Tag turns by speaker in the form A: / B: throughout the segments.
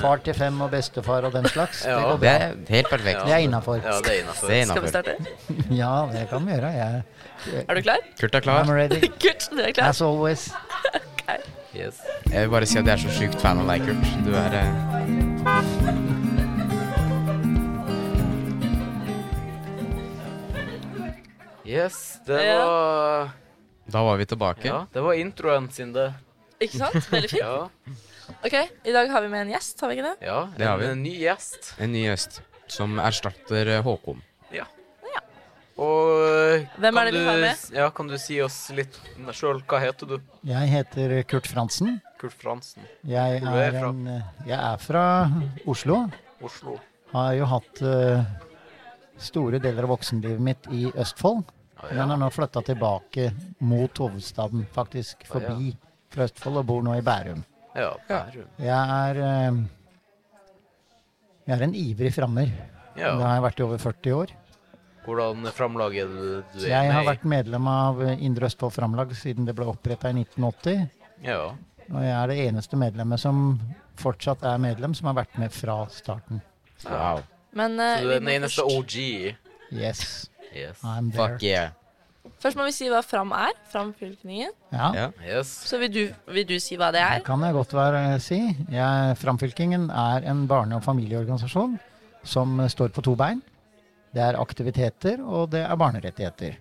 A: far til fem og bestefar og den slags.
B: Ja.
A: Det går
C: Det
A: bra.
C: er helt perfekt.
A: Det er innafor.
B: Ja, det er innafor.
C: Det er
D: Skal vi
C: innafor.
D: starte?
A: Ja, det kan vi gjøre. Jeg,
D: Er du klar?
C: Kurt er
A: I'm
C: klar.
A: ready.
D: Kurt, du er klar?
A: As always.
B: Yes.
C: Jeg vil bare si at jeg er så sjukt fan av deg, Kurt. Du er eh,
B: yes, det
D: Ja.
B: var
C: Da var vi tilbake.
B: Ja, det var introen sin, det.
D: Ikke sant? Veldig fint.
B: Ja,
D: Ok, i dag har vi med en gjest, har vi ikke det?
B: ja
C: Det har vi.
B: En eh, ny gjest.
C: En ny gjest som erstatter eh, Håkon.
B: Og eh,
D: Hvem
B: kan
D: er det vi
B: du-
D: har med?
B: Ja, kan du si oss litt sjøl? Hva heter du?
A: Jeg heter Kurt Fransen.
B: Kurt Fransen.
A: Jeg
B: Hvor er
A: er,
B: du fra?
A: en, eh, jeg er fra Oslo.
B: Oslo.
A: Har jo hatt eh, store deler av voksenlivet mitt i Østfold.
B: Ja,
A: Men har nå flytta tilbake mot hovedstaden, faktisk. Forbi fra Østfold og bor nå i Bærum.
B: ja. Bærum.
A: Jeg er eh, Jeg er en ivrig frammer.
B: Ja.
A: Det har jeg vært i over 40 år.
B: Hvordan framlag er det du er
A: Jeg har
B: med i?
A: vært medlem av eh, Indre Østfold Framlag siden det ble oppretta i 1980.
B: Ja.
A: Og jeg er det eneste medlemmet som fortsatt er medlem, som har vært med fra starten.
C: Wow.
D: Men
B: Så
D: eh,
B: du
D: vi
B: er den
D: må
B: eneste
D: først,
B: OG.
A: Yes,
B: Yes.
A: I'm there.
C: Fuck yeah.
D: først må vi si hva Fram er. Fram fylkingen.
A: Ja,
C: Ja.
B: yes.
D: Så vil du, vil du si hva det
A: det
D: er?
A: kan jeg godt være, eh, si. Jeg, Framfylkingen er en barne- og familieorganisasjon som eh, står på to bein. Det er aktiviteter, og det er barnerettigheter.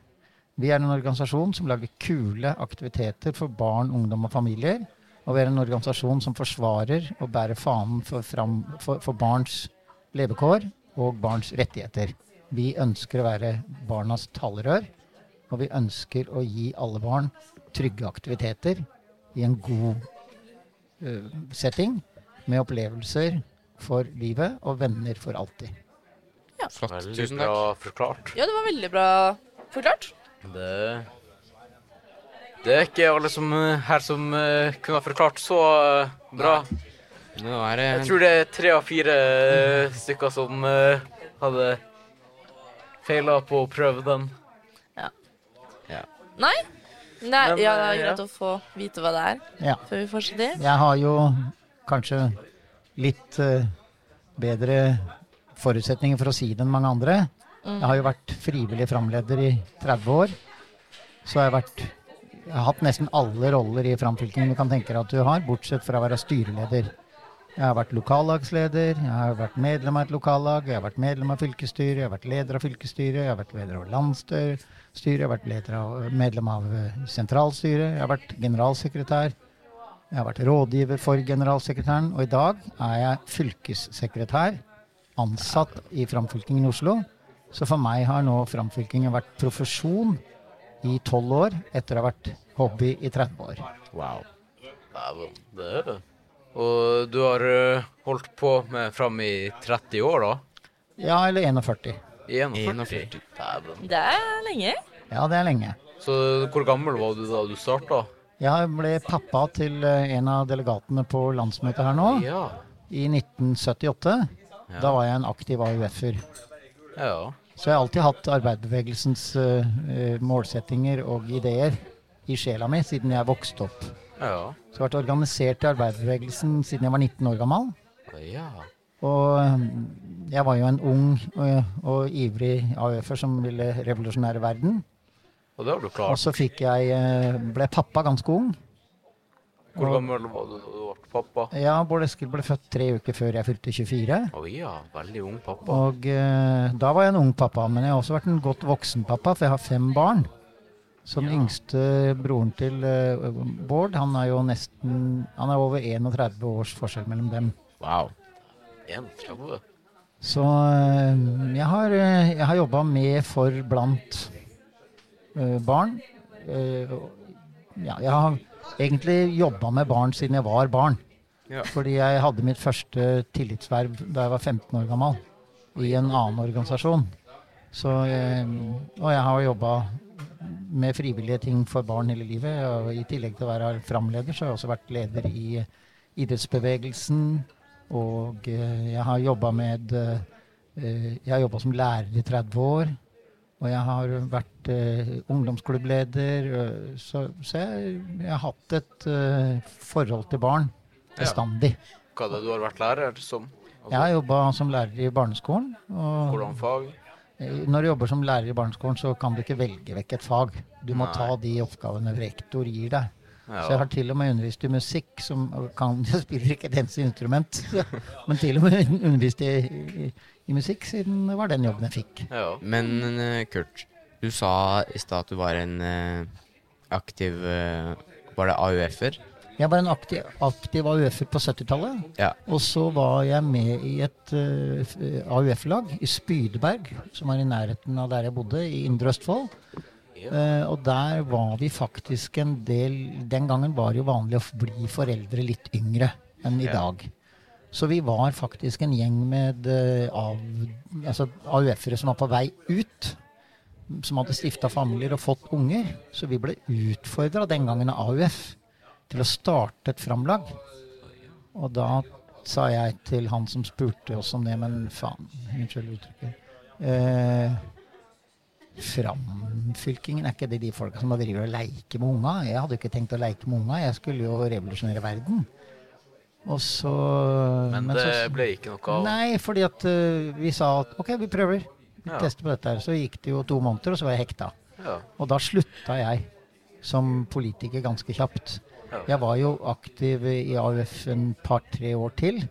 A: Vi er en organisasjon som lager kule aktiviteter for barn, ungdom og familier. Og vi er en organisasjon som forsvarer og bærer fanen for, fram, for, for barns levekår og barns rettigheter. Vi ønsker å være barnas talerør, og vi ønsker å gi alle barn trygge aktiviteter i en god eh, setting, med opplevelser for livet og venner for alltid.
C: Flott.
B: Veldig
C: Tusen
B: bra
C: takk.
B: forklart.
D: Ja, det var veldig bra forklart.
B: Det Det er ikke alle som, eh, her som eh, kunne ha forklart så eh, bra.
C: Nå er det
B: Jeg tror det er tre av fire eh, stykker som eh, hadde feila på å prøve den.
D: Nei? Nei
B: Men,
D: ja, det er
B: eh,
D: greit å få vite hva det er
A: Ja.
D: før vi fortsetter.
A: Jeg har jo kanskje litt eh, bedre forutsetninger for å si det enn mange andre. Jeg har jo vært frivillig framleder i 30 år. Så har jeg vært jeg har hatt nesten alle roller i framfylkingen du kan tenke deg at du har, bortsett fra å være styreleder. Jeg har vært lokallagsleder, jeg har vært medlem av et lokallag, jeg har vært medlem av fylkesstyret, jeg har vært leder av fylkesstyret, jeg har vært leder av landsstyret, jeg har vært leder av, medlem av eh, sentralstyret, jeg har vært generalsekretær. Jeg har vært rådgiver for generalsekretæren, og i dag er jeg fylkessekretær, ansatt i Framfylkingen i Oslo. Så for meg har nå Framfylkingen vært profesjon i tolv år, etter å ha vært hobby i 30 år.
C: Wow.
B: Dæven, det er det. Og du har eh, holdt på med fram i 30 år, da?
A: Ja, eller 41.
B: I 41?
C: 41.
B: Dæven.
D: Det er lenge.
A: Ja, det er lenge.
B: Så hvor gammel var du da du starta?
A: Jeg ble pappa til eh, en av delegatene på landsmøtet her nå,
B: Ja.
A: i 1978. Da var jeg en aktiv AUF-er.
B: Ja.
A: Så jeg har alltid hatt arbeiderbevegelsens eh, eh, målsettinger og ideer i sjela mi siden jeg vokste opp.
B: Ja.
A: Så jeg har vært organisert i arbeiderbevegelsen siden jeg var 19 år gammel.
B: ja.
A: Og eh, jeg var jo en ung eh, og ivrig AUF-er som ville revolusjonere verden.
B: Og det har du
A: Og
B: klart.
A: så fikk jeg, eh, ble pappa ganske ung.
B: Hvor gammel var du da du ble pappa?
A: Ja, Bård Eskil ble født tre uker før jeg fylte 24.
B: Å ja, veldig ung pappa.
A: Og eh, da var jeg en ung pappa, men jeg har også vært en godt voksen pappa, for jeg har fem barn. Så den yngste broren til eh, Bård, han er jo nesten Han er over 31 års forskjell mellom dem.
C: Wow.
B: 31.
A: Så eh, jeg har, eh, jeg har jobba med for blant eh, barn. Eh, og- ja, jeg har egentlig jobba med barn siden jeg var barn.
C: Ja.
A: Fordi jeg hadde mitt første tillitsverv da jeg var 15 år gammel, i en annen organisasjon. Så, eh, og jeg har jobba med frivillige ting for barn hele livet. Og I tillegg til å være framleder, så har jeg også vært leder i idrettsbevegelsen. Og eh, jeg har jobba med eh, eh, Jeg har jobba som lærer i 30 år. Og jeg har vært eh, ungdomsklubbleder, eh, så, så jeg, jeg har hatt et eh, forhold til barn bestandig.
B: hva det du har vært lærer som?
A: Jeg har jobba som lærer i barneskolen. Og eh,
B: Hvordan fag?
A: når du jobber som lærer i barneskolen, så kan du ikke velge vekk et fag. Du må
B: Nei.
A: ta de oppgavene rektor gir deg. Så jeg
B: Ja.
A: har til og med undervist i musikk, som kan Jeg spiller ikke et eneste instrument. Men til og med undervist i, i, i musikk, siden det var den jobben jeg fikk.
B: ja.
C: Men eh, Kurt, du sa i stad at du var en eh, aktiv eh, Var det AUF-er?
A: Jeg var en aktiv, aktiv AUF-er på 70-tallet.
C: Ja.
A: Og så var jeg med i et eh, f- eh, AUF-lag i Spydeberg, som var i nærheten av der jeg bodde, i Indre Østfold. Eh, og der var vi faktisk en del Den gangen var det jo vanlig å f- bli foreldre litt yngre enn i dag. Så vi var faktisk en gjeng med eh, av, altså AUF-ere som var på vei ut. Som hadde stifta familier og fått unger. Så vi ble utfordra den gangen av AUF til å starte et framlag. Og da sa jeg til han som spurte oss om det, men faen, unnskyld uttrykket. Eh, framfylkingen, er ikke det de folka som bare driver og leker med unga? Jeg hadde jo ikke tenkt å leke med unga, jeg skulle jo revolusjonere verden. Og så
B: Men
A: men
B: det
A: så-
B: ble ikke noe av.
A: Nei, fordi at eh, vi sa at ok, vi prøver. Vi
B: Ja.
A: tester på dette her. Så gikk det jo to måneder, og så var jeg hekta.
B: Ja.
A: Og da slutta jeg som politiker ganske kjapt.
B: Ja.
A: Jeg var jo aktiv i AUF en par-tre år til.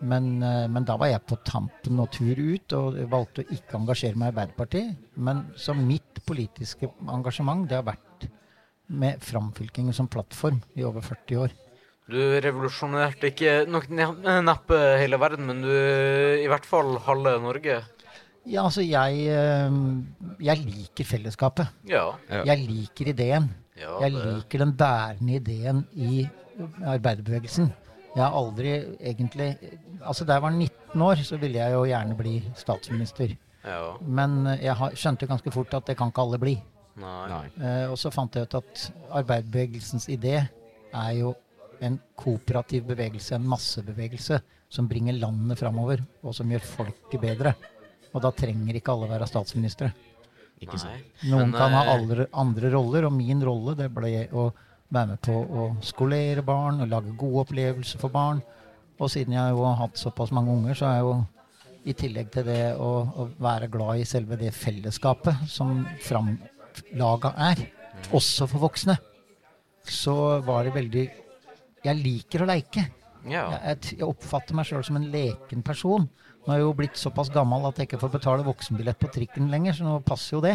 A: Men, eh, men da var jeg på tampen og tur ut, og valgte å ikke engasjere meg i Arbeiderpartiet. Men så mitt politiske engasjement, det har vært med framfylkingen som plattform i over 40 år.
B: Du revolusjonerte ikke nok ne- neppe hele verden, men du i hvert fall halve Norge.
A: Ja, altså jeg eh, Jeg liker fellesskapet.
B: Ja.
C: Ja.
A: Jeg liker ideen.
B: Ja,
A: Jeg
B: det-
A: liker den bærende ideen i arbeiderbevegelsen. Jeg har aldri egentlig Altså da jeg var 19 år, så ville jeg jo gjerne bli statsminister.
B: ja.
A: Men eh, jeg har, skjønte ganske fort at det kan ikke alle bli.
B: Nei.
C: Nei.
A: Eh, og så fant jeg ut at arbeiderbevegelsens idé er jo en kooperativ bevegelse, en massebevegelse, som bringer landet framover, og som gjør folket bedre. Og da trenger ikke alle være statsministre.
C: Ikke sant.
B: Nei.
A: Noen
B: Men,
A: kan ha
B: eh,
A: aldre, andre roller, og min rolle det ble å være med på å skolere barn og lage gode opplevelser for barn. Og siden jeg jo har hatt såpass mange unger, så er jeg jo i tillegg til det å, å være glad i selve det fellesskapet som framlaga er, også for voksne, så var det veldig Jeg liker å leike.
B: Ja.
A: Jeg, jeg, t- jeg oppfatter meg sjøl som en leken person. Nå er jeg jo blitt såpass gammel at jeg ikke får betale voksenbillett på trikken lenger, så nå passer jo det.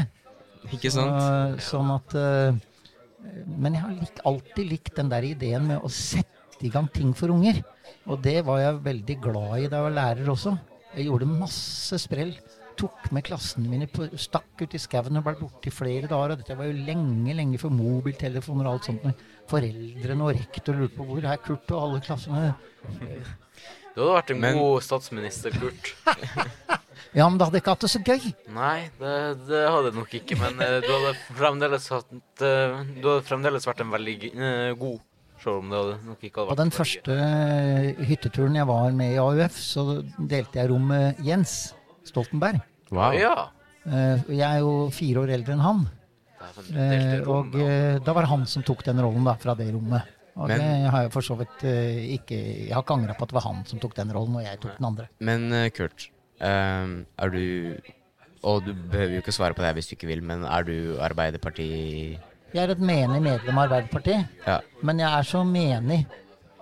C: Ikke sant?
A: Og, sånn at eh, Men jeg har lik, alltid likt den der ideen med å sette i gang ting for unger. Og det var jeg veldig glad i da jeg var lærer også. Jeg gjorde masse sprell. Tok med klassene mine, på, stakk ut i skauen og ble borte i flere dager. Og dette var jo lenge, lenge før mobiltelefoner og alt sånt. Men Foreldrene og rektor lurte på hvor er Kurt og alle klassene.
B: Du hadde vært en
C: Men-
B: god statsminister, Kurt.
A: Ja, men da hadde jeg ikke hatt det så gøy.
B: Nei, det, det hadde jeg nok ikke, men eh, du hadde fremdeles hatt eh, Du hadde fremdeles vært en veldig g- eh, god, selv om det hadde nok ikke hadde
A: På
B: vært
A: den
B: veldig-
A: første eh, hytteturen jeg var med i AUF, så delte jeg rom med Jens Stoltenberg.
C: Wow.
B: Ja.
A: Eh, Jeg er jo fire år eldre enn han.
B: Dæven,
A: eh,
B: delte rom,
A: Og eh, da var det han som tok den rollen da, fra det rommet. Og
C: Men-
A: det har jeg for så vidt eh, ikke Jeg har ikke angra på at det var han som tok den rollen, og jeg tok den andre.
C: Men eh, Kurt, ehm, er du Og du behøver jo ikke svare på det her hvis du ikke vil, men er du Arbeiderparti...
A: Jeg er et menig medlem av Arbeiderpartiet,
C: Ja.
A: men jeg er så menig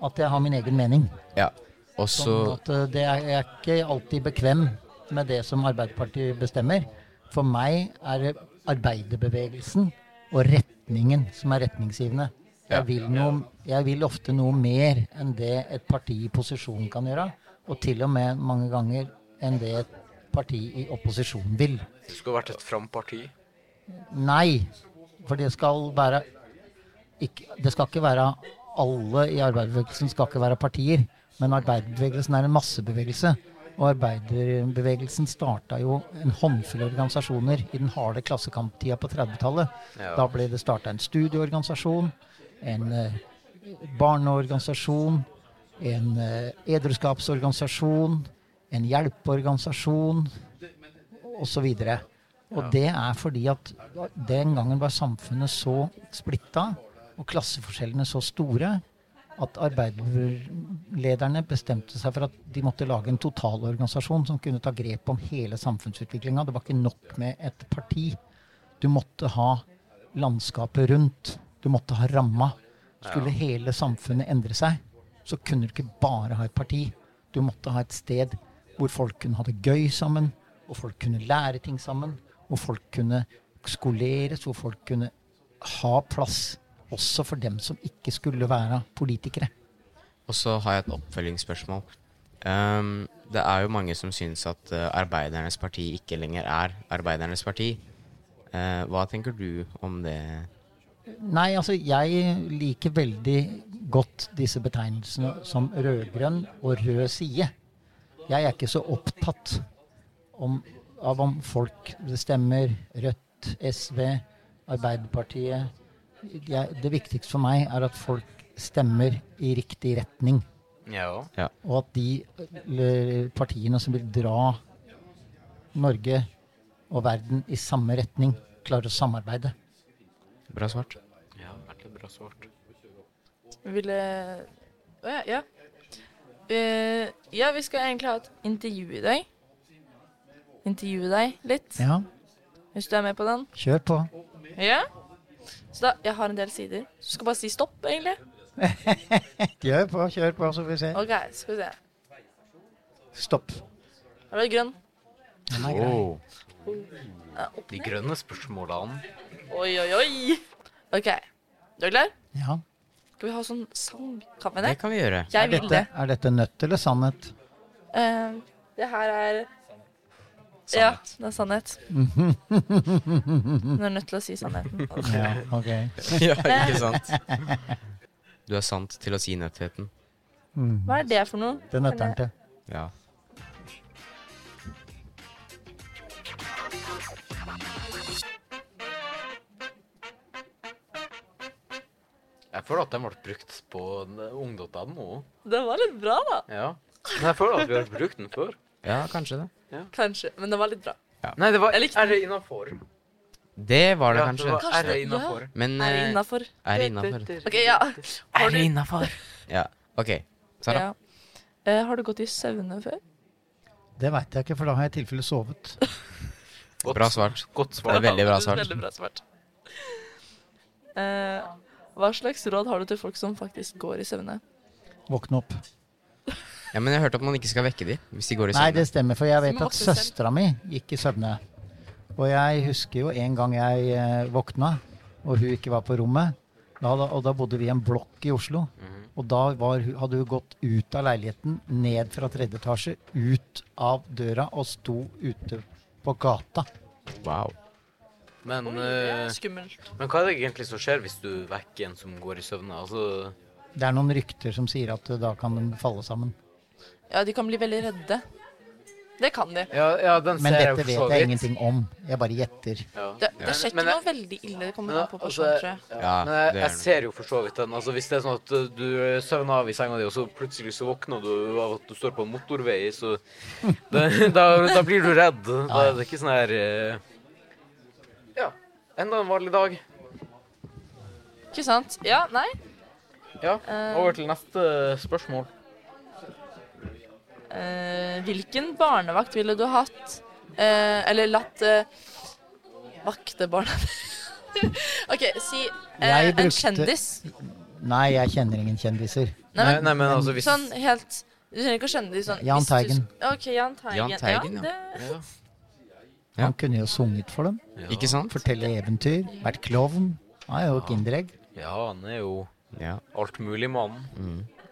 A: at jeg har min egen mening.
C: ja. Og
A: Sånn
C: så
A: at eh, det er, jeg er ikke alltid bekvem med det som Arbeiderpartiet bestemmer. For meg er det arbeiderbevegelsen og retningen som er retningsgivende.
C: Ja.
A: Jeg vil, noe, jeg vil ofte noe mer enn det et parti i posisjon kan gjøre. Og til og med mange ganger enn det et parti i opposisjon vil.
C: eh,
B: Det skulle vært et framparti.
A: Nei, for det skal være ikke, Det skal ikke være alle i arbeiderbevegelsen skal ikke være partier. Men arbeiderbevegelsen er en massebevegelse. Og arbeiderbevegelsen starta jo en håndfull organisasjoner i den harde klassekamptida på 30-tallet.
B: Ja.
A: Da ble det starta en studieorganisasjon, en eh, barneorganisasjon, en eh, edruskapsorganisasjon, en hjelpeorganisasjon, osv. Og det er fordi at den gangen var samfunnet så splitta og klasseforskjellene så store at arbeiderlederne bestemte seg for at de måtte lage en totalorganisasjon som kunne ta grep om hele samfunnsutviklinga. Det var ikke nok med et parti. Du måtte ha landskapet rundt. Du måtte ha ramma. Skulle hele samfunnet endre seg, så kunne du ikke bare ha et parti. Du måtte ha et sted hvor folk kunne ha det gøy sammen, og folk kunne lære ting sammen, og folk kunne skoleres, hvor folk kunne ha plass også for dem som ikke skulle være politikere.
C: Og så har jeg et oppfølgingsspørsmål. Ehm, det er jo mange som syns at eh, Arbeidernes parti ikke lenger er Arbeidernes parti. Eh, hva tenker du om det?
A: Nei, altså jeg liker veldig godt disse betegnelsene som rød-grønn og rød side. Jeg er ikke så opptatt om, av om folk stemmer Rødt, SV, Arbeiderpartiet. Jeg, det viktigste for meg er at folk stemmer i riktig retning.
B: Ja.
A: Og at de eller, partiene som vil dra Norge og verden i samme retning, klarer å samarbeide.
C: Bra svart.
B: ja veldig bra svart.
D: Ville Å ja. Ja. Eh, ja, vi skal egentlig ha et intervju i dag. Intervjue deg litt,
A: Ja,
D: hvis du er med på den.
A: kjør på.
D: Ja? Så da, jeg har en del sider. Så skal jeg bare si stopp, egentlig.
A: Kjør på, kjør på, så får vi se.
D: OK, skal vi se.
A: Stopp.
D: Har du grønn?
A: Den er grei.
D: Ja, opp
B: De
D: ned.
B: grønne spørsmålene.
D: Oi, oi, oi. OK. Du er klar?
A: Ja.
D: Skal vi ha sånn sang? Kan vi det?
C: Det kan vi gjøre.
D: Jeg
A: Er
D: vil
A: dette,
D: det.
A: er dette nødt eller sannhet?
D: Eh, det her er Ja, det er sannhet. Hun er nødt til å si sannheten.
A: Ja, ok.
C: ja, ikke sant? Du er sant til å si nøttheten.
D: Hva er det for noe?
A: Det nøtter den til.
C: Ja.
B: Jeg føler at den ble brukt på eh, ung.no.
D: Det var litt bra, da.
B: Ja. Men jeg føler at vi har brukt den før.
C: ja, kanskje det.
D: Kanskje. Men det var litt bra.
B: Nei, det var
D: Jeg likte
B: Er det innafor?
C: Det var det
B: Ja, det
C: kanskje.
B: var Er det
D: Kanskje,
B: innafor?
C: Men
D: Er det
C: eh,
D: innafor?
C: er det innafor?
D: OK, ja. Har du,
C: innafor? Ja. OK. Sara.
D: ja. Eh, har du gått i søvne før?
A: Det veit jeg ikke, for da har jeg i tilfelle sovet.
B: Godt-
C: Bra svart.
B: Godt
C: Det
B: svar.
C: er veldig bra svart.
D: Veldig bra svart. Eh, hva slags råd har du til folk som faktisk går i søvne?
A: Våkne opp.
C: Ja, men jeg hørte at man ikke skal vekke de hvis de går i
A: Nei,
C: søvne.
A: det stemmer, for jeg vet
D: Som
A: at
D: voksen selv.
A: søstera mi gikk i søvne. Og jeg husker jo en gang jeg eh, våkna, og hun ikke var på rommet. Da, hadde- og da bodde vi i en blokk i Oslo. Og da var, hun- hadde hun gått ut av leiligheten, ned fra tredje etasje, ut av døra og sto ute på gata.
C: Wow.
B: Men, eh,
D: Skummelt.
B: men hva er det egentlig som skjer hvis du vekker en som går i søvne? Altså,
A: Det er noen rykter som sier at eh, da kan de falle sammen.
D: Ja, de kan bli veldig redde. Det kan de.
B: ja, ja, den
A: Men
B: ser
A: dette
B: jeg for så
A: vet jeg
B: vidt.
A: ingenting om. Jeg bare gjetter.
B: Ja.
D: Det, det skjer
B: Men-
D: ikke
B: men jeg-
D: noe veldig ille. Det kommer
B: Men,
D: an på
B: altså,
D: personen, tror jeg.
C: Ja,
B: men jeg,
C: det er
B: jeg
C: det.
B: ser jo for så vidt den. Altså, hvis det er sånn at uh, du søvner av i senga di, og så plutselig så våkner du av at du står på en motorvei, så da, da, da blir du redd. Da er det ikke sånn her eh, Ja. Enda en vanlig dag.
D: Ikke sant? Ja, nei.
B: Ja.
D: Eh.
B: Over til neste spørsmål.
D: Eh, hvilken barnevakt ville du hatt eh, Eller latt eh, vakte barna OK, si eh,
A: Jeg
D: en
A: brukte-
D: kjendis.
A: Nei, jeg kjenner ingen kjendiser.
D: Nei,
B: Nei,
D: men,
B: nei, men altså hvis
D: sånn helt Du trenger ikke å kjenne det sånn
A: Jahn
D: hvis du-
A: Teigen.
D: OK, Jahn Teigen.
C: Jahn Teigen, ja.
D: ja. Det,
B: ja.
A: Han kunne jo sunget for dem.
C: Ikke sant?
A: Fortelle eventyr. Vært klovn. Han er jo kinderegg.
B: ja, han er jo
C: Ja.
B: altmuligmann.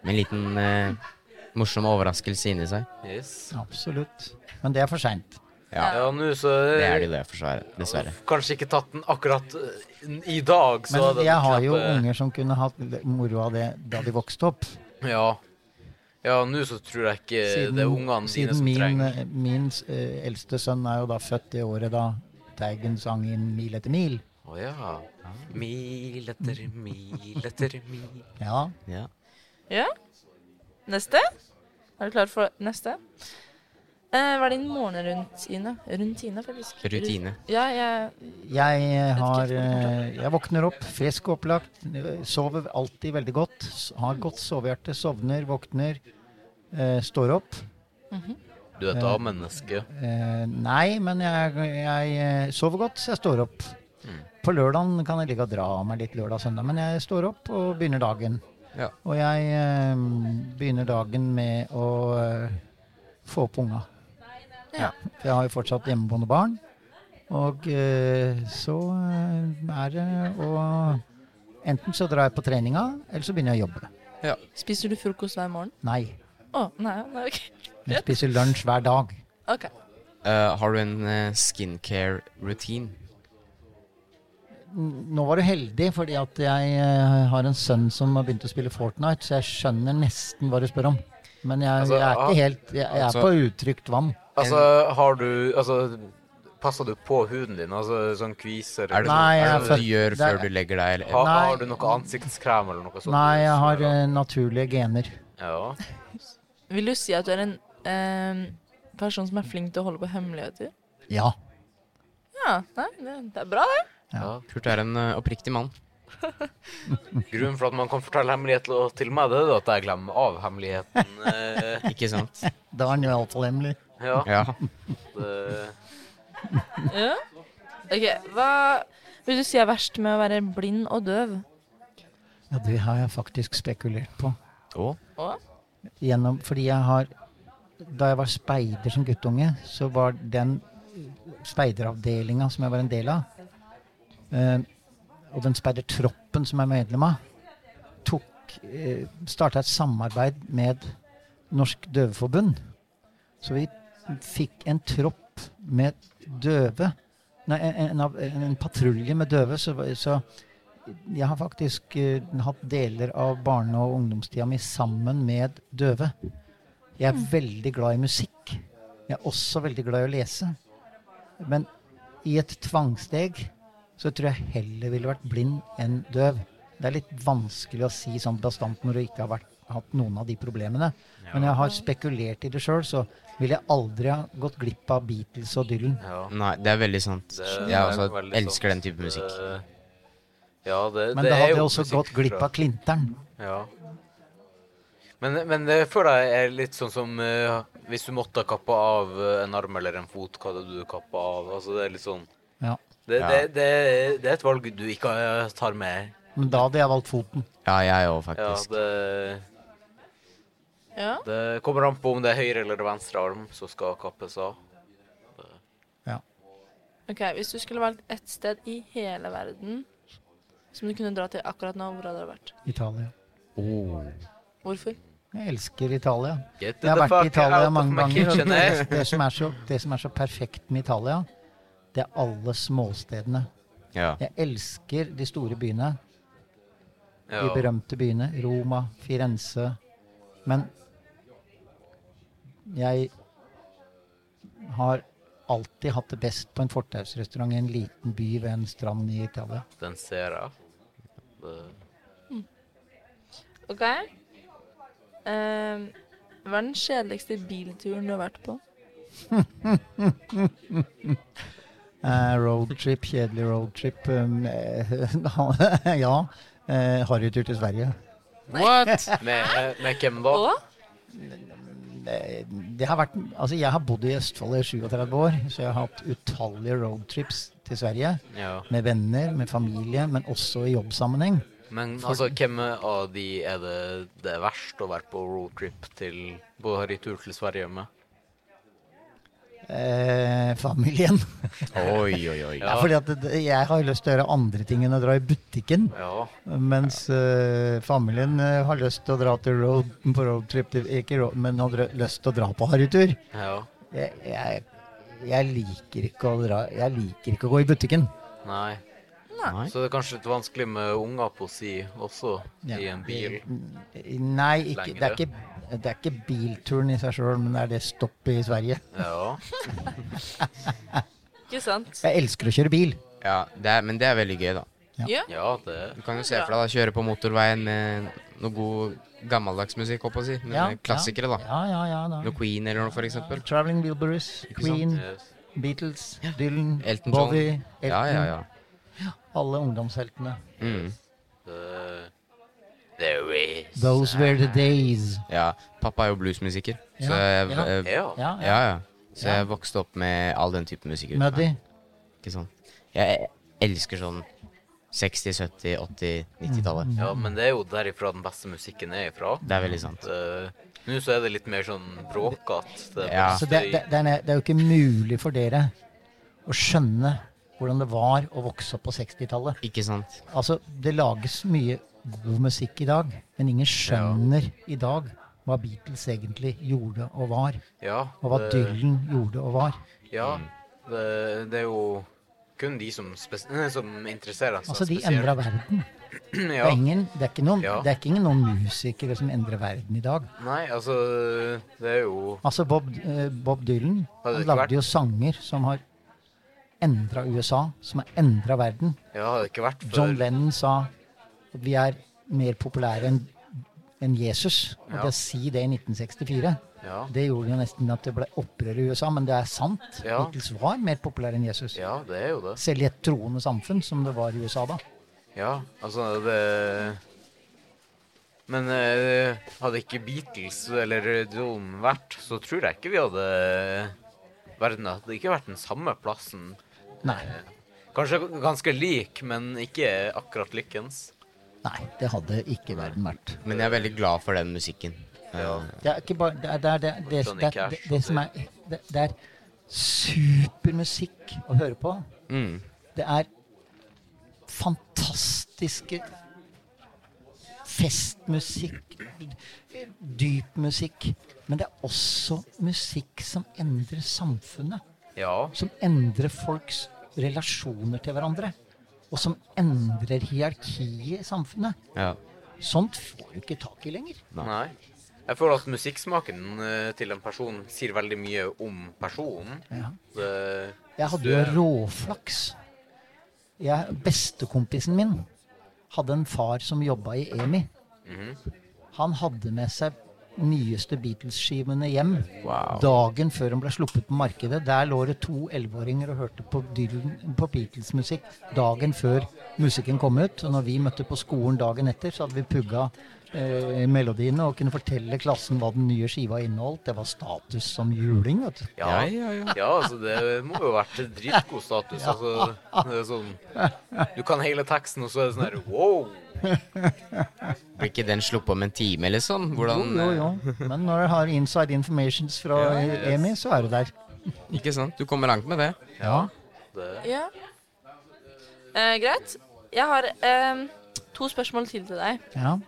C: Med en liten eh, morsom overraskelse inni seg.
B: Yes.
A: Absolutt. Men det er for seint.
B: Ja, nå så
C: Det er de det, forsvaret, dessverre.
B: Kanskje ikke tatt den akkurat eh, i dag, så
A: Men
B: hadde
A: jeg
B: den
A: har jo
B: knappe-
A: unger som kunne hatt moro av det da de vokste opp.
B: Ja. Ja, nå så tror jeg ikke Eh, det er ungene dine
A: siden
B: som
A: min,
B: trenger
A: min eh, eldste sønn er jo da født det året da Teigen sang inn 'Mil etter mil'.
B: Å ja. Mil etter mil etter mil
A: Ja.
C: Ja.
D: ja. Neste? Er du klar for neste? Eh, hva er din morgenrutine? Rutine, faktisk.
C: Rutine.
D: Ru- Ja, jeg
A: Jeg har
D: Vet ikke helt hvor det
A: eh, Jeg våkner opp frisk og opplagt. Sover alltid veldig godt. s- Har godt sovehjerte. Sovner, våkner. eh, står opp.
B: Du er et A-menneske.
A: Eh, nei, men jeg, jeg eh, sover godt, så jeg står opp. På lørdagen kan jeg ligge og dra av meg litt lørdag og søndag, men jeg står opp og begynner dagen.
C: Ja.
A: Og jeg eh, begynner dagen med å eh, få opp unga.
D: Ja.
A: For jeg har jo fortsatt hjemmeboende barn. Og eh, så eh, er det å Enten så drar jeg på treninga, eller så begynner jeg å jobbe.
D: Spiser du frokost hver morgen?
A: Nei.
D: Å, nei, nei, ok.
A: Jeg spiser lunsj hver dag.
D: Ok.
C: Eh, har du en eh, skincare-routine?
A: Nå var du heldig, fordi at jeg eh, har en sønn som har begynt å spille Fortnite, så jeg skjønner nesten hva du spør om. Men jeg,
B: Altså,
A: jeg er
B: ah,
A: ikke helt Jeg, jeg
C: altså-
A: er på utrygt vann.
B: Altså, har du Altså, passer du på huden din? Altså sånn kviser
C: Er det,
B: eller-
A: Nei,
C: er
A: jeg
C: det
A: er
C: noe
A: født-
C: du gjør
A: det er- Ah.
C: før du legger deg? Eller,
B: har,
A: Nei.
B: har du noe ansiktskrem eller noe sånt?
A: Nei, jeg har
B: Eller-
A: eh, naturlige gener.
B: Ja.
D: Vil du si at du er en ehm, person som er flink til å holde på hemmeligheter?
A: Ja.
D: Ja, nei, det, det er bra, det.
B: ja.
C: Kurt er en eh, oppriktig mann.
B: Grunnen for at man kan fortelle hemmeligheter til meg, det er jo at jeg glemmer av hemmeligheten. eh,
C: Ikke sant?
A: Da er den jo iallfall hemmelig.
B: Ja.
C: Ja.
B: det-
D: Ja. Ok, hva vil du si er verst med å være blind og døv?
A: Ja, det har jeg faktisk spekulert på.
C: Og
D: Å?
A: Gjennom, fordi jeg har Da jeg var speider som guttunge, så var den speideravdelinga som jeg var en del av, eh, og den speidertroppen som jeg er medlem av, tok eh, starta et samarbeid med Norsk Døveforbund. Så vi fikk en tropp med døve Nei, en, en, av- en, en patrulje med døve, så, så jeg har faktisk eh, hatt deler av barne- og ungdomstida mi sammen med døve. Jeg er veldig glad i musikk. Jeg er også veldig glad i å lese. Men i et tvangsteg så tror jeg heller ville vært blind enn døv. Det er litt vanskelig å si sånn bastant når du ikke har vært, hatt noen av de problemene. Men jeg har spekulert i det sjøl, så ville jeg aldri ha gått glipp av Beatles og Dylan.
B: ja.
C: Nei, det er veldig sant.
B: eh, Det
C: Jeg
B: er
C: også
B: veldig sant.
C: elsker den type musikk.
B: Det- Ja, det,
A: Men
B: det
A: da
B: er
A: hadde jeg
B: jo
A: også
B: musikk
A: gått glipp
B: fra-
A: av Klinteren.
B: Ja. Men, men det føler jeg er litt sånn som eh, hvis du måtte ha kappa av eh, en arm eller en fot, hva hadde du kappa av? Altså, det er litt sånn
A: Ja.
B: det,
C: Ja.
B: det, det, det er et valg du ikke eh, tar med.
A: Men da hadde jeg valgt foten.
C: Ja, jeg òg,
B: Ja,
C: faktisk.
B: det,
D: Ja.
B: det kommer an på om det er høyre eller venstre arm som skal kappes av.
D: Ok, Hvis du skulle valgt ett sted i hele verden som du kunne dra til akkurat nå, hvor hadde det vært?
A: Italia.
C: Oh.
D: Hvorfor?
A: Jeg elsker Italia.
B: Get
A: Jeg har
B: the
A: vært i
B: fuck out
A: Italia
B: of
A: mange
B: my
A: ganger. Og
B: kitchen, eh?
A: det, det, som er så, det som er så perfekt med Italia, det er alle småstedene.
C: Ja.
A: Jeg elsker de store byene, de
B: Ja.
A: berømte byene. Roma, Firenze. Men jeg har alltid hatt det best på en fortausrestaurant i en liten by ved en strand i Italia.
B: Den ser jeg. Det-
D: Ok. Ehm, hva er den kjedeligste bilturen du har vært på?
A: Eh, roadtrip, kjedelig roadtrip. Um, eh, ja. Eh, Harrytur til Sverige.
C: What?
B: Med, med hvem da?
D: Å?
A: Eh, det har vært, altså jeg har bodd i Østfold i 37 år, så jeg har hatt utallige roadtrips til Sverige.
B: Ja.
A: Med venner, med familie, men også i jobbsammenheng.
B: Men altså, hvem av de er det det er verst å være på roadtrip til På retur til Sverige med?
A: Eh, familien.
C: Oi, oi, oi.
A: Ja. Fordi at det, jeg har jo lyst til å gjøre andre ting enn å dra i butikken.
B: Ja.
A: Mens eh, familien eh, har lyst til å dra til road, på roadtrip, til- ikke road, men har dra- lyst til å dra på harrytur.
B: ja.
A: Jeg, jeg, jeg, liker ikke å dra, jeg liker ikke å gå i butikken.
B: Nei.
C: Nei.
B: Så det er kanskje litt vanskelig med unger på si også,
A: Ja.
B: i en bil.
A: Nei, ikke,
B: Lengre.
A: det, er ikke, det er ikke bilturen i seg sjøl, men det er det stoppet i Sverige.
B: Ja.
D: Ikke sant?
A: Jeg elsker å kjøre bil.
C: Ja, det er, men det er veldig gøy, da.
A: Ja.
D: Ja.
B: Ja, det
C: Du kan jo se for deg da, kjøre på motorveien med noe god gammeldags musikk, holdt på å si. Men
A: Ja,
C: eh, klassikere, da.
A: Ja, ja, ja. Da.
C: Noe Queen eller noe, for eksempel.
A: Traveling Wilburys,
C: Ikke sant?
A: Queen,
B: yes.
A: Beatles, Dylan,
C: Elton John.
A: Bowie, Elton,
C: Ja, ja, ja.
A: alle ungdomsheltene.
C: Mm.
B: det, There is
A: Those were the days.
C: ja. Pappa er jo bluesmusiker, så
A: Ja,
C: jeg,
A: ja.
C: eh,
B: Ja.
A: Ja, ja.
C: ja, ja. Så jeg vokste opp med all den type musikk. rundt meg.
A: Muddy.
C: Ikke sant? Jeg elsker sånn 60-, 70-, 80-,
A: Mm.
C: 90-tallet.
B: ja, men det er jo derifra den beste musikken er ifra.
C: Det er veldig sant.
B: Det- Nå så er det litt mer sånn bråkete. det
C: Ja.
A: Så det, det, det, er, det er jo ikke mulig for dere å skjønne hvordan det var å vokse opp på 60-tallet.
C: Ikke sant?
A: Altså, det lages mye god musikk i dag, men ingen skjønner i dag hva Beatles egentlig gjorde og var.
B: Ja,
A: Og hva
B: det-
A: Dylan gjorde og var.
B: Ja, det, det er jo kun de som, spes som interesserer seg
A: Altså, de
B: spesielt.
A: endra verden. Det
B: ja.
A: er, ingen, det, er ikke noen,
B: Ja.
A: det er ikke ingen noen musikere som endrer verden i dag.
B: Nei, altså Det er jo
A: Altså, Bob, eh, Bob Dylan
B: Hadde det
A: han
B: ikke vært-
A: lagde jo sanger som har endra USA, som har endra verden.
B: Ja, hadde det ikke vært for
A: John Lennon sa at vi er mer populære enn enn Jesus. Og
B: Ja.
A: det å si det i 1964,
B: Ja,
A: det gjorde jo nesten at det ble opprør i USA, men det er sant.
B: Ja.
A: Beatles var mer populære enn Jesus.
B: ja det er jo det.
A: Selv i et troende samfunn som det var i USA da.
B: Ja, altså det Men eh, hadde ikke Beatles eller Dylan vært, så tror jeg ikke vi hadde Verden hadde ikke vært den samme plassen.
A: Nei,
B: Kanskje ganske lik, men ikke akkurat likens.
A: nei, det hadde ikke verden vært.
C: Men jeg er veldig glad for den musikken.
B: Ja.
A: Det er ikke bare Det er det, er- det, er- det,
B: Johnny
A: det, er-
B: Cash,
A: det, det som er det, det er supermusikk å høre på.
C: Mm.
A: Det er fantastiske festmusikk, dyp musikk. Men det er også musikk som endrer samfunnet.
B: Ja.
A: Som endrer folks relasjoner til hverandre. Og som endrer hierarkiet i samfunnet.
C: Ja.
A: Sånt får du ikke tak i lenger.
B: Nei. Jeg føler at musikksmaken eh, til en person sier veldig mye om personen. eh,
A: Ja.
B: Det,
A: Jeg hadde jo råflaks. Jeg, bestekompisen min hadde en far som jobba i EMI. Han hadde med seg nyeste Beatles-skivene hjem
C: Wow.
A: dagen før de ble sluppet på markedet. Der lå det to elleveåringer og hørte på, Dylan- på Beatles-musikk dagen før musikken kom ut. Og når vi møtte på skolen dagen etter, så hadde vi pugga eh, melodiene og kunne fortelle klassen hva den nye skiva inneholdt. Det var status som juling, vet du.
B: ja, ja, altså det må jo ha vært dritgod status. Altså, det er sånn, du kan hele teksten, og så er det sånn her wow.
C: Blir ikke den sluppet om en time eller sånn?
A: Jo,
C: Hvordan
A: jo, jo. Eh, Men når du har inside informations fra EMI, så er du der.
C: eh, Ikke sant? Du kommer langt med det.
A: Ja.
B: Det,
D: Ja. Eh, greit. Jeg har eh, to spørsmål til til deg.
A: ja.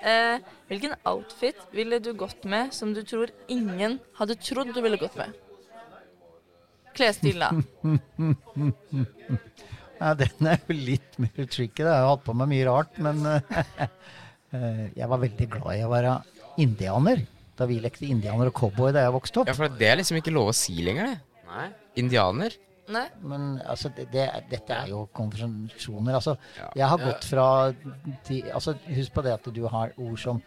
D: Eh, hvilken outfit ville du gått med som du tror ingen hadde trodd du ville gått med? Klesstil, da.
A: ja den er jo litt mer tricky. da. Jeg har hatt på meg mye rart, men eh, eh, jeg var veldig glad i å være indianer. Da vi lekte indianer og cowboy da jeg vokste opp.
C: Ja, for det er liksom ikke lov å si lenger, det.
B: nei.
C: Indianer.
D: Nei?
A: Men altså, det, det, er- dette er jo konvensjoner. Altså,
C: Ja.
A: jeg har gått fra ti, altså, Husk på det at du har ord som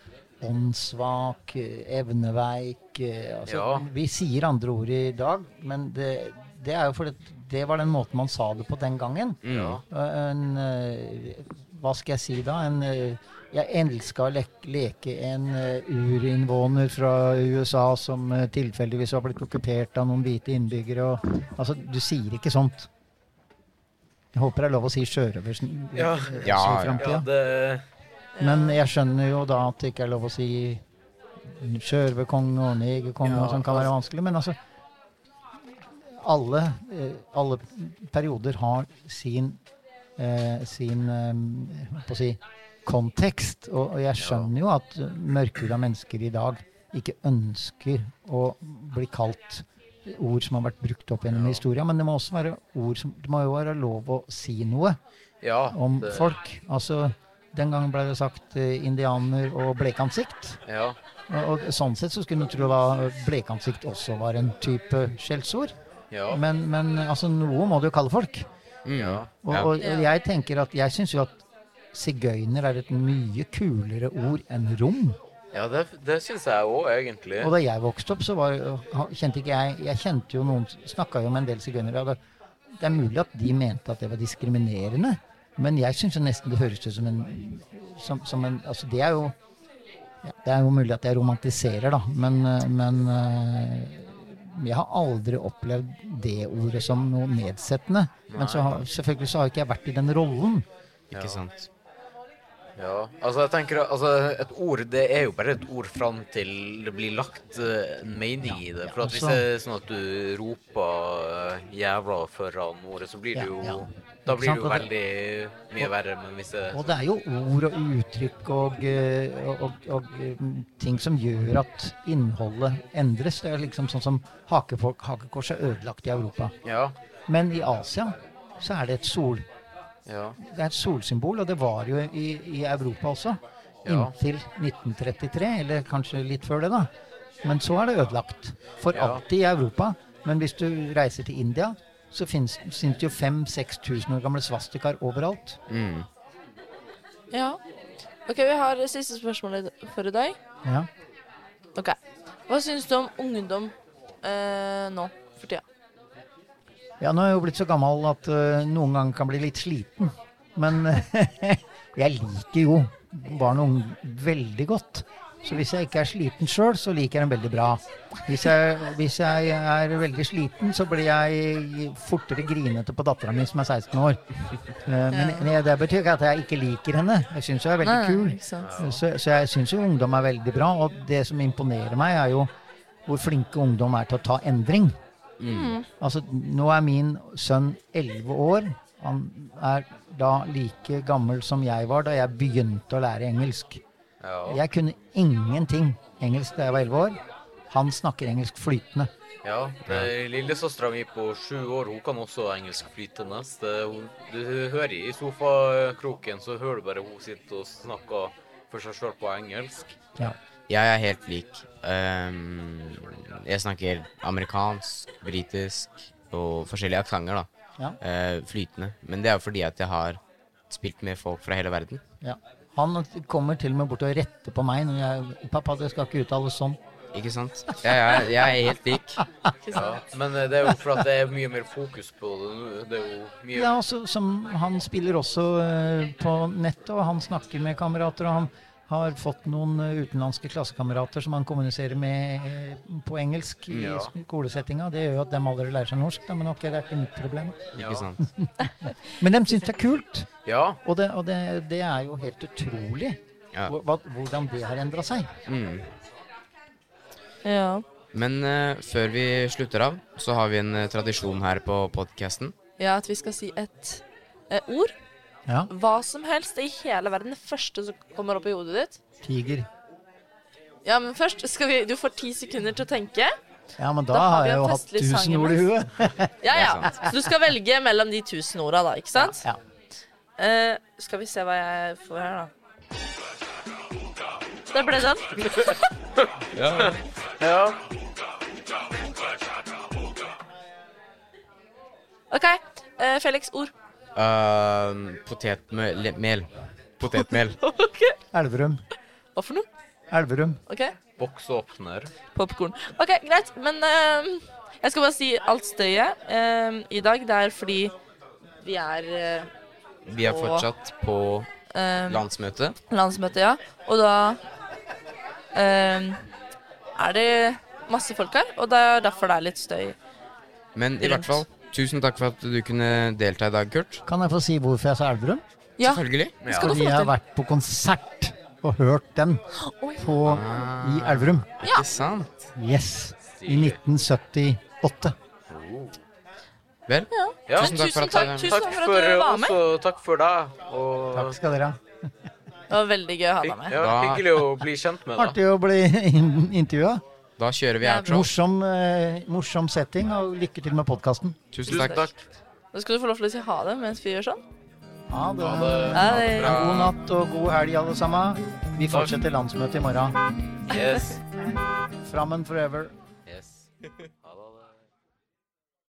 A: åndssvak, eh, evneveik eh, altså,
B: Ja.
A: Vi sier andre ord i dag, men det, det er jo fordi det var den måten man sa det på den gangen.
B: Mm. Ja.
A: Eh, En, eh, hva skal jeg si da? En, eh, jeg elska å leke, leke en eh, urinnvåner fra USA som eh, tilfeldigvis var blitt okkupert av noen hvite innbyggere. Og, altså, du sier ikke sånt. Jeg håper det er lov å si eh, sjørøver
B: Ja.
A: ja,
C: Ja, ja.
B: Ja,
A: framtida.
B: det
A: Men jeg skjønner jo da at det ikke er lov å si sjørøverkonge og negerkonge,
B: Ja,
A: og sånn kan være vanskelig. Men altså Alle, eh, alle perioder har sin eh, sin eh, hva skal jeg si kontekst. Og, og jeg skjønner jo at mørkhuda mennesker i dag ikke ønsker å bli kalt ord som har vært brukt opp gjennom historia, men det må også være ord som Det må jo være lov å si noe
B: Ja.
A: om
B: det-
A: folk. Altså, den gangen ble det sagt eh, indianer og blekansikt.
B: Ja.
A: Og, og sånn sett så skulle du tro at blekansikt også var en type skjellsord.
B: Ja.
A: Men, men altså, noe må du jo kalle folk.
C: Mm.
B: Ja.
A: Og,
C: Ja.
A: og, og jeg tenker at jeg syns jo at sigøyner er et mye kulere ord enn rom.
B: Ja, det, det syns jeg òg, egentlig.
A: Og da jeg vokste opp, så var, ha- kjente ikke jeg Jeg kjente jo noen Snakka jo med en del sigøynere. og Det, det er mulig at de mente at det var diskriminerende, men jeg syns nesten det høres ut som en, som, som en Altså, det er jo ja, Det er jo mulig at jeg romantiserer, da, men, eh, men eh, jeg har aldri opplevd det ordet som noe nedsettende. Men så har, selvfølgelig så har ikke jeg vært i den rollen.
C: Ikke sant?
B: Ja, altså jeg tenker altså Et ord det er jo bare et ord fram til det blir lagt eh, en mening i det. For at hvis
A: altså-
B: det er sånn at du roper eh, 'jævla' foran ordet, så blir
A: Ja,
B: det jo
A: ja.
B: Da
A: Ikke
B: blir det
A: sant,
B: jo
A: og det-
B: veldig mye verre. Men hvis det
A: Og det er jo ord og uttrykk og, eh, og, og, og mm, ting som gjør at innholdet endres. Det er liksom sånn som hakefolk, hakekors er ødelagt i Europa.
B: Ja.
A: Men i Asia så er det et, sol,
B: Ja.
A: det er et solsymbol, og det var jo i, i Europa også.
B: Ja.
A: Inntil 1933, eller kanskje litt før det, da. Men så er det ødelagt. For
B: Ja.
A: alltid i Europa. Men hvis du reiser til India, så finnes, finnes det jo 5000-6000 år gamle svastikaer overalt.
C: Mm.
D: Ja. OK, vi har det siste spørsmålet for i dag.
A: Ja.
D: Ok. Hva syns du om ungdom eh, nå for tida?
A: Ja, nå er jeg jo blitt så gammel at øh, noen ganger kan bli litt sliten. Men jeg liker jo barn og unge veldig godt. Så hvis jeg ikke er sliten sjøl, så liker jeg dem veldig bra. Hvis jeg, hvis jeg er veldig sliten, så blir jeg fortere grinete på dattera mi som er 16 år. Eh, Men men det betyr ikke at jeg ikke liker henne. Jeg syns hun er veldig kul.
D: ikke sant?
A: Eh, Så, så jeg syns jo ungdom er veldig bra. Og det som imponerer meg, er jo hvor flinke ungdom er til å ta endring. Altså, nå er min sønn 11 år. Han er da like gammel som jeg var da jeg begynte å lære engelsk.
B: Ja.
A: Jeg kunne ingenting engelsk da jeg var 11 år. Han snakker engelsk flytende.
B: ja. Det- Lillesøstera mi på sju år hun kan også engelsk flytende. Så det- hun- Du hører i sofakroken, så hører du bare hun sitter og snakker for seg sjøl på engelsk.
A: Ja.
C: Jeg er helt lik. Ehm, jeg snakker amerikansk, britisk og forskjellige aksenter, da.
A: Ja.
C: Eh, flytende. Men det er jo fordi at jeg har spilt med folk fra hele verden.
A: Ja. Han kommer til og med bort og retter på meg når jeg 'Pappa, det skal ikke uttales sånn'.
C: Ikke sant? Jeg er, jeg er helt lik.
B: Ja, men eh, det er jo for at det er mye mer fokus på det nå. Det er jo mye
A: Ja, altså, som han spiller også eh, på nettet, og han snakker med kamerater. Og han har fått noen eh, utenlandske klassekamerater som han kommuniserer med eh, på engelsk i
B: Ja.
A: skolesettinga. Det gjør jo at de allerede lærer seg norsk, da, men ok, det er ikke mitt problem.
B: Ja.
C: Ikke sant?
A: Men de syns det er kult,
B: Ja,
A: og det, og det, det er jo helt utrolig
C: Ja.
A: hvor- hva, hvordan det har endra seg.
C: Mm.
D: Ja.
C: Men eh, før vi slutter av, så har vi en eh, tradisjon her på podkasten.
D: ja, at vi skal si et eh, ord.
A: Ja,
D: Hva som helst i hele verden. Det første som kommer opp i hodet ditt.
A: tiger.
D: Ja, men først skal vi Du får ti sekunder til å tenke.
A: Ja, men da,
D: Da har
A: har
D: vi
A: jeg
D: en
A: jo hatt
D: festlig sang
A: tusen ord i
D: imens.
A: huet.
D: Ja, ja. Så du skal velge mellom de tusen orda, da, ikke sant?
A: Ja.
D: Eh, skal vi se hva jeg får her, da. Der ble det den.
B: ja.
D: OK. eh, Felix, ord.
C: Uh, Potetmel. Potetmel.
D: OK.
A: Elverum.
D: Hva for noe?
A: Elverum.
D: OK.
B: boksåpner.
D: Popkorn. OK, greit. Men ehm, jeg skal bare si alt støyet ehm, i dag. Det er fordi vi er eh,
C: Vi er fortsatt på
D: ehm,
C: landsmøte.
D: landsmøte, ja. Og da ehm, er det masse folk her, og det er derfor det er litt støy.
C: Men i hvert fall, tusen takk for at du kunne delta i dag, Kurt.
A: Kan jeg få si hvorfor jeg sa Elverum?
D: Ja,
C: Selvfølgelig.
D: det skal du
A: Fordi
D: få
A: jeg har
D: lov til.
A: vært på konsert og hørt den
D: Oi.
A: på, i
B: Ah.
A: Elverum.
C: Ikke sant?
A: Yes. I
B: Stilig.
A: 1978.
C: Vel,
B: Ja.
D: Tusen takk for at,
C: jeg-
D: tusen
B: Oh. Takk
D: takk for
B: for
D: at du var med.
B: også, takk for deg. Og
A: Takk skal dere ha.
D: Det var veldig gøy å ha deg med.
B: ja,
C: Da-
B: hyggelig å bli kjent med deg.
A: Artig å bli intervjua.
C: da kjører vi
D: Ja,
C: outro.
A: Morsom, eh, morsom setting, og lykke til med podkasten.
C: Tusen
B: Tusen
C: takk.
B: takk.
D: Da skal du få lov til å si ha det mens vi gjør sånn.
A: Ha det.
B: Ha det.
D: Ha det bra.
A: God natt og god helg, alle sammen. Vi fortsetter landsmøtet i morgen.
B: Yes.
A: Frammen forever.
B: yes.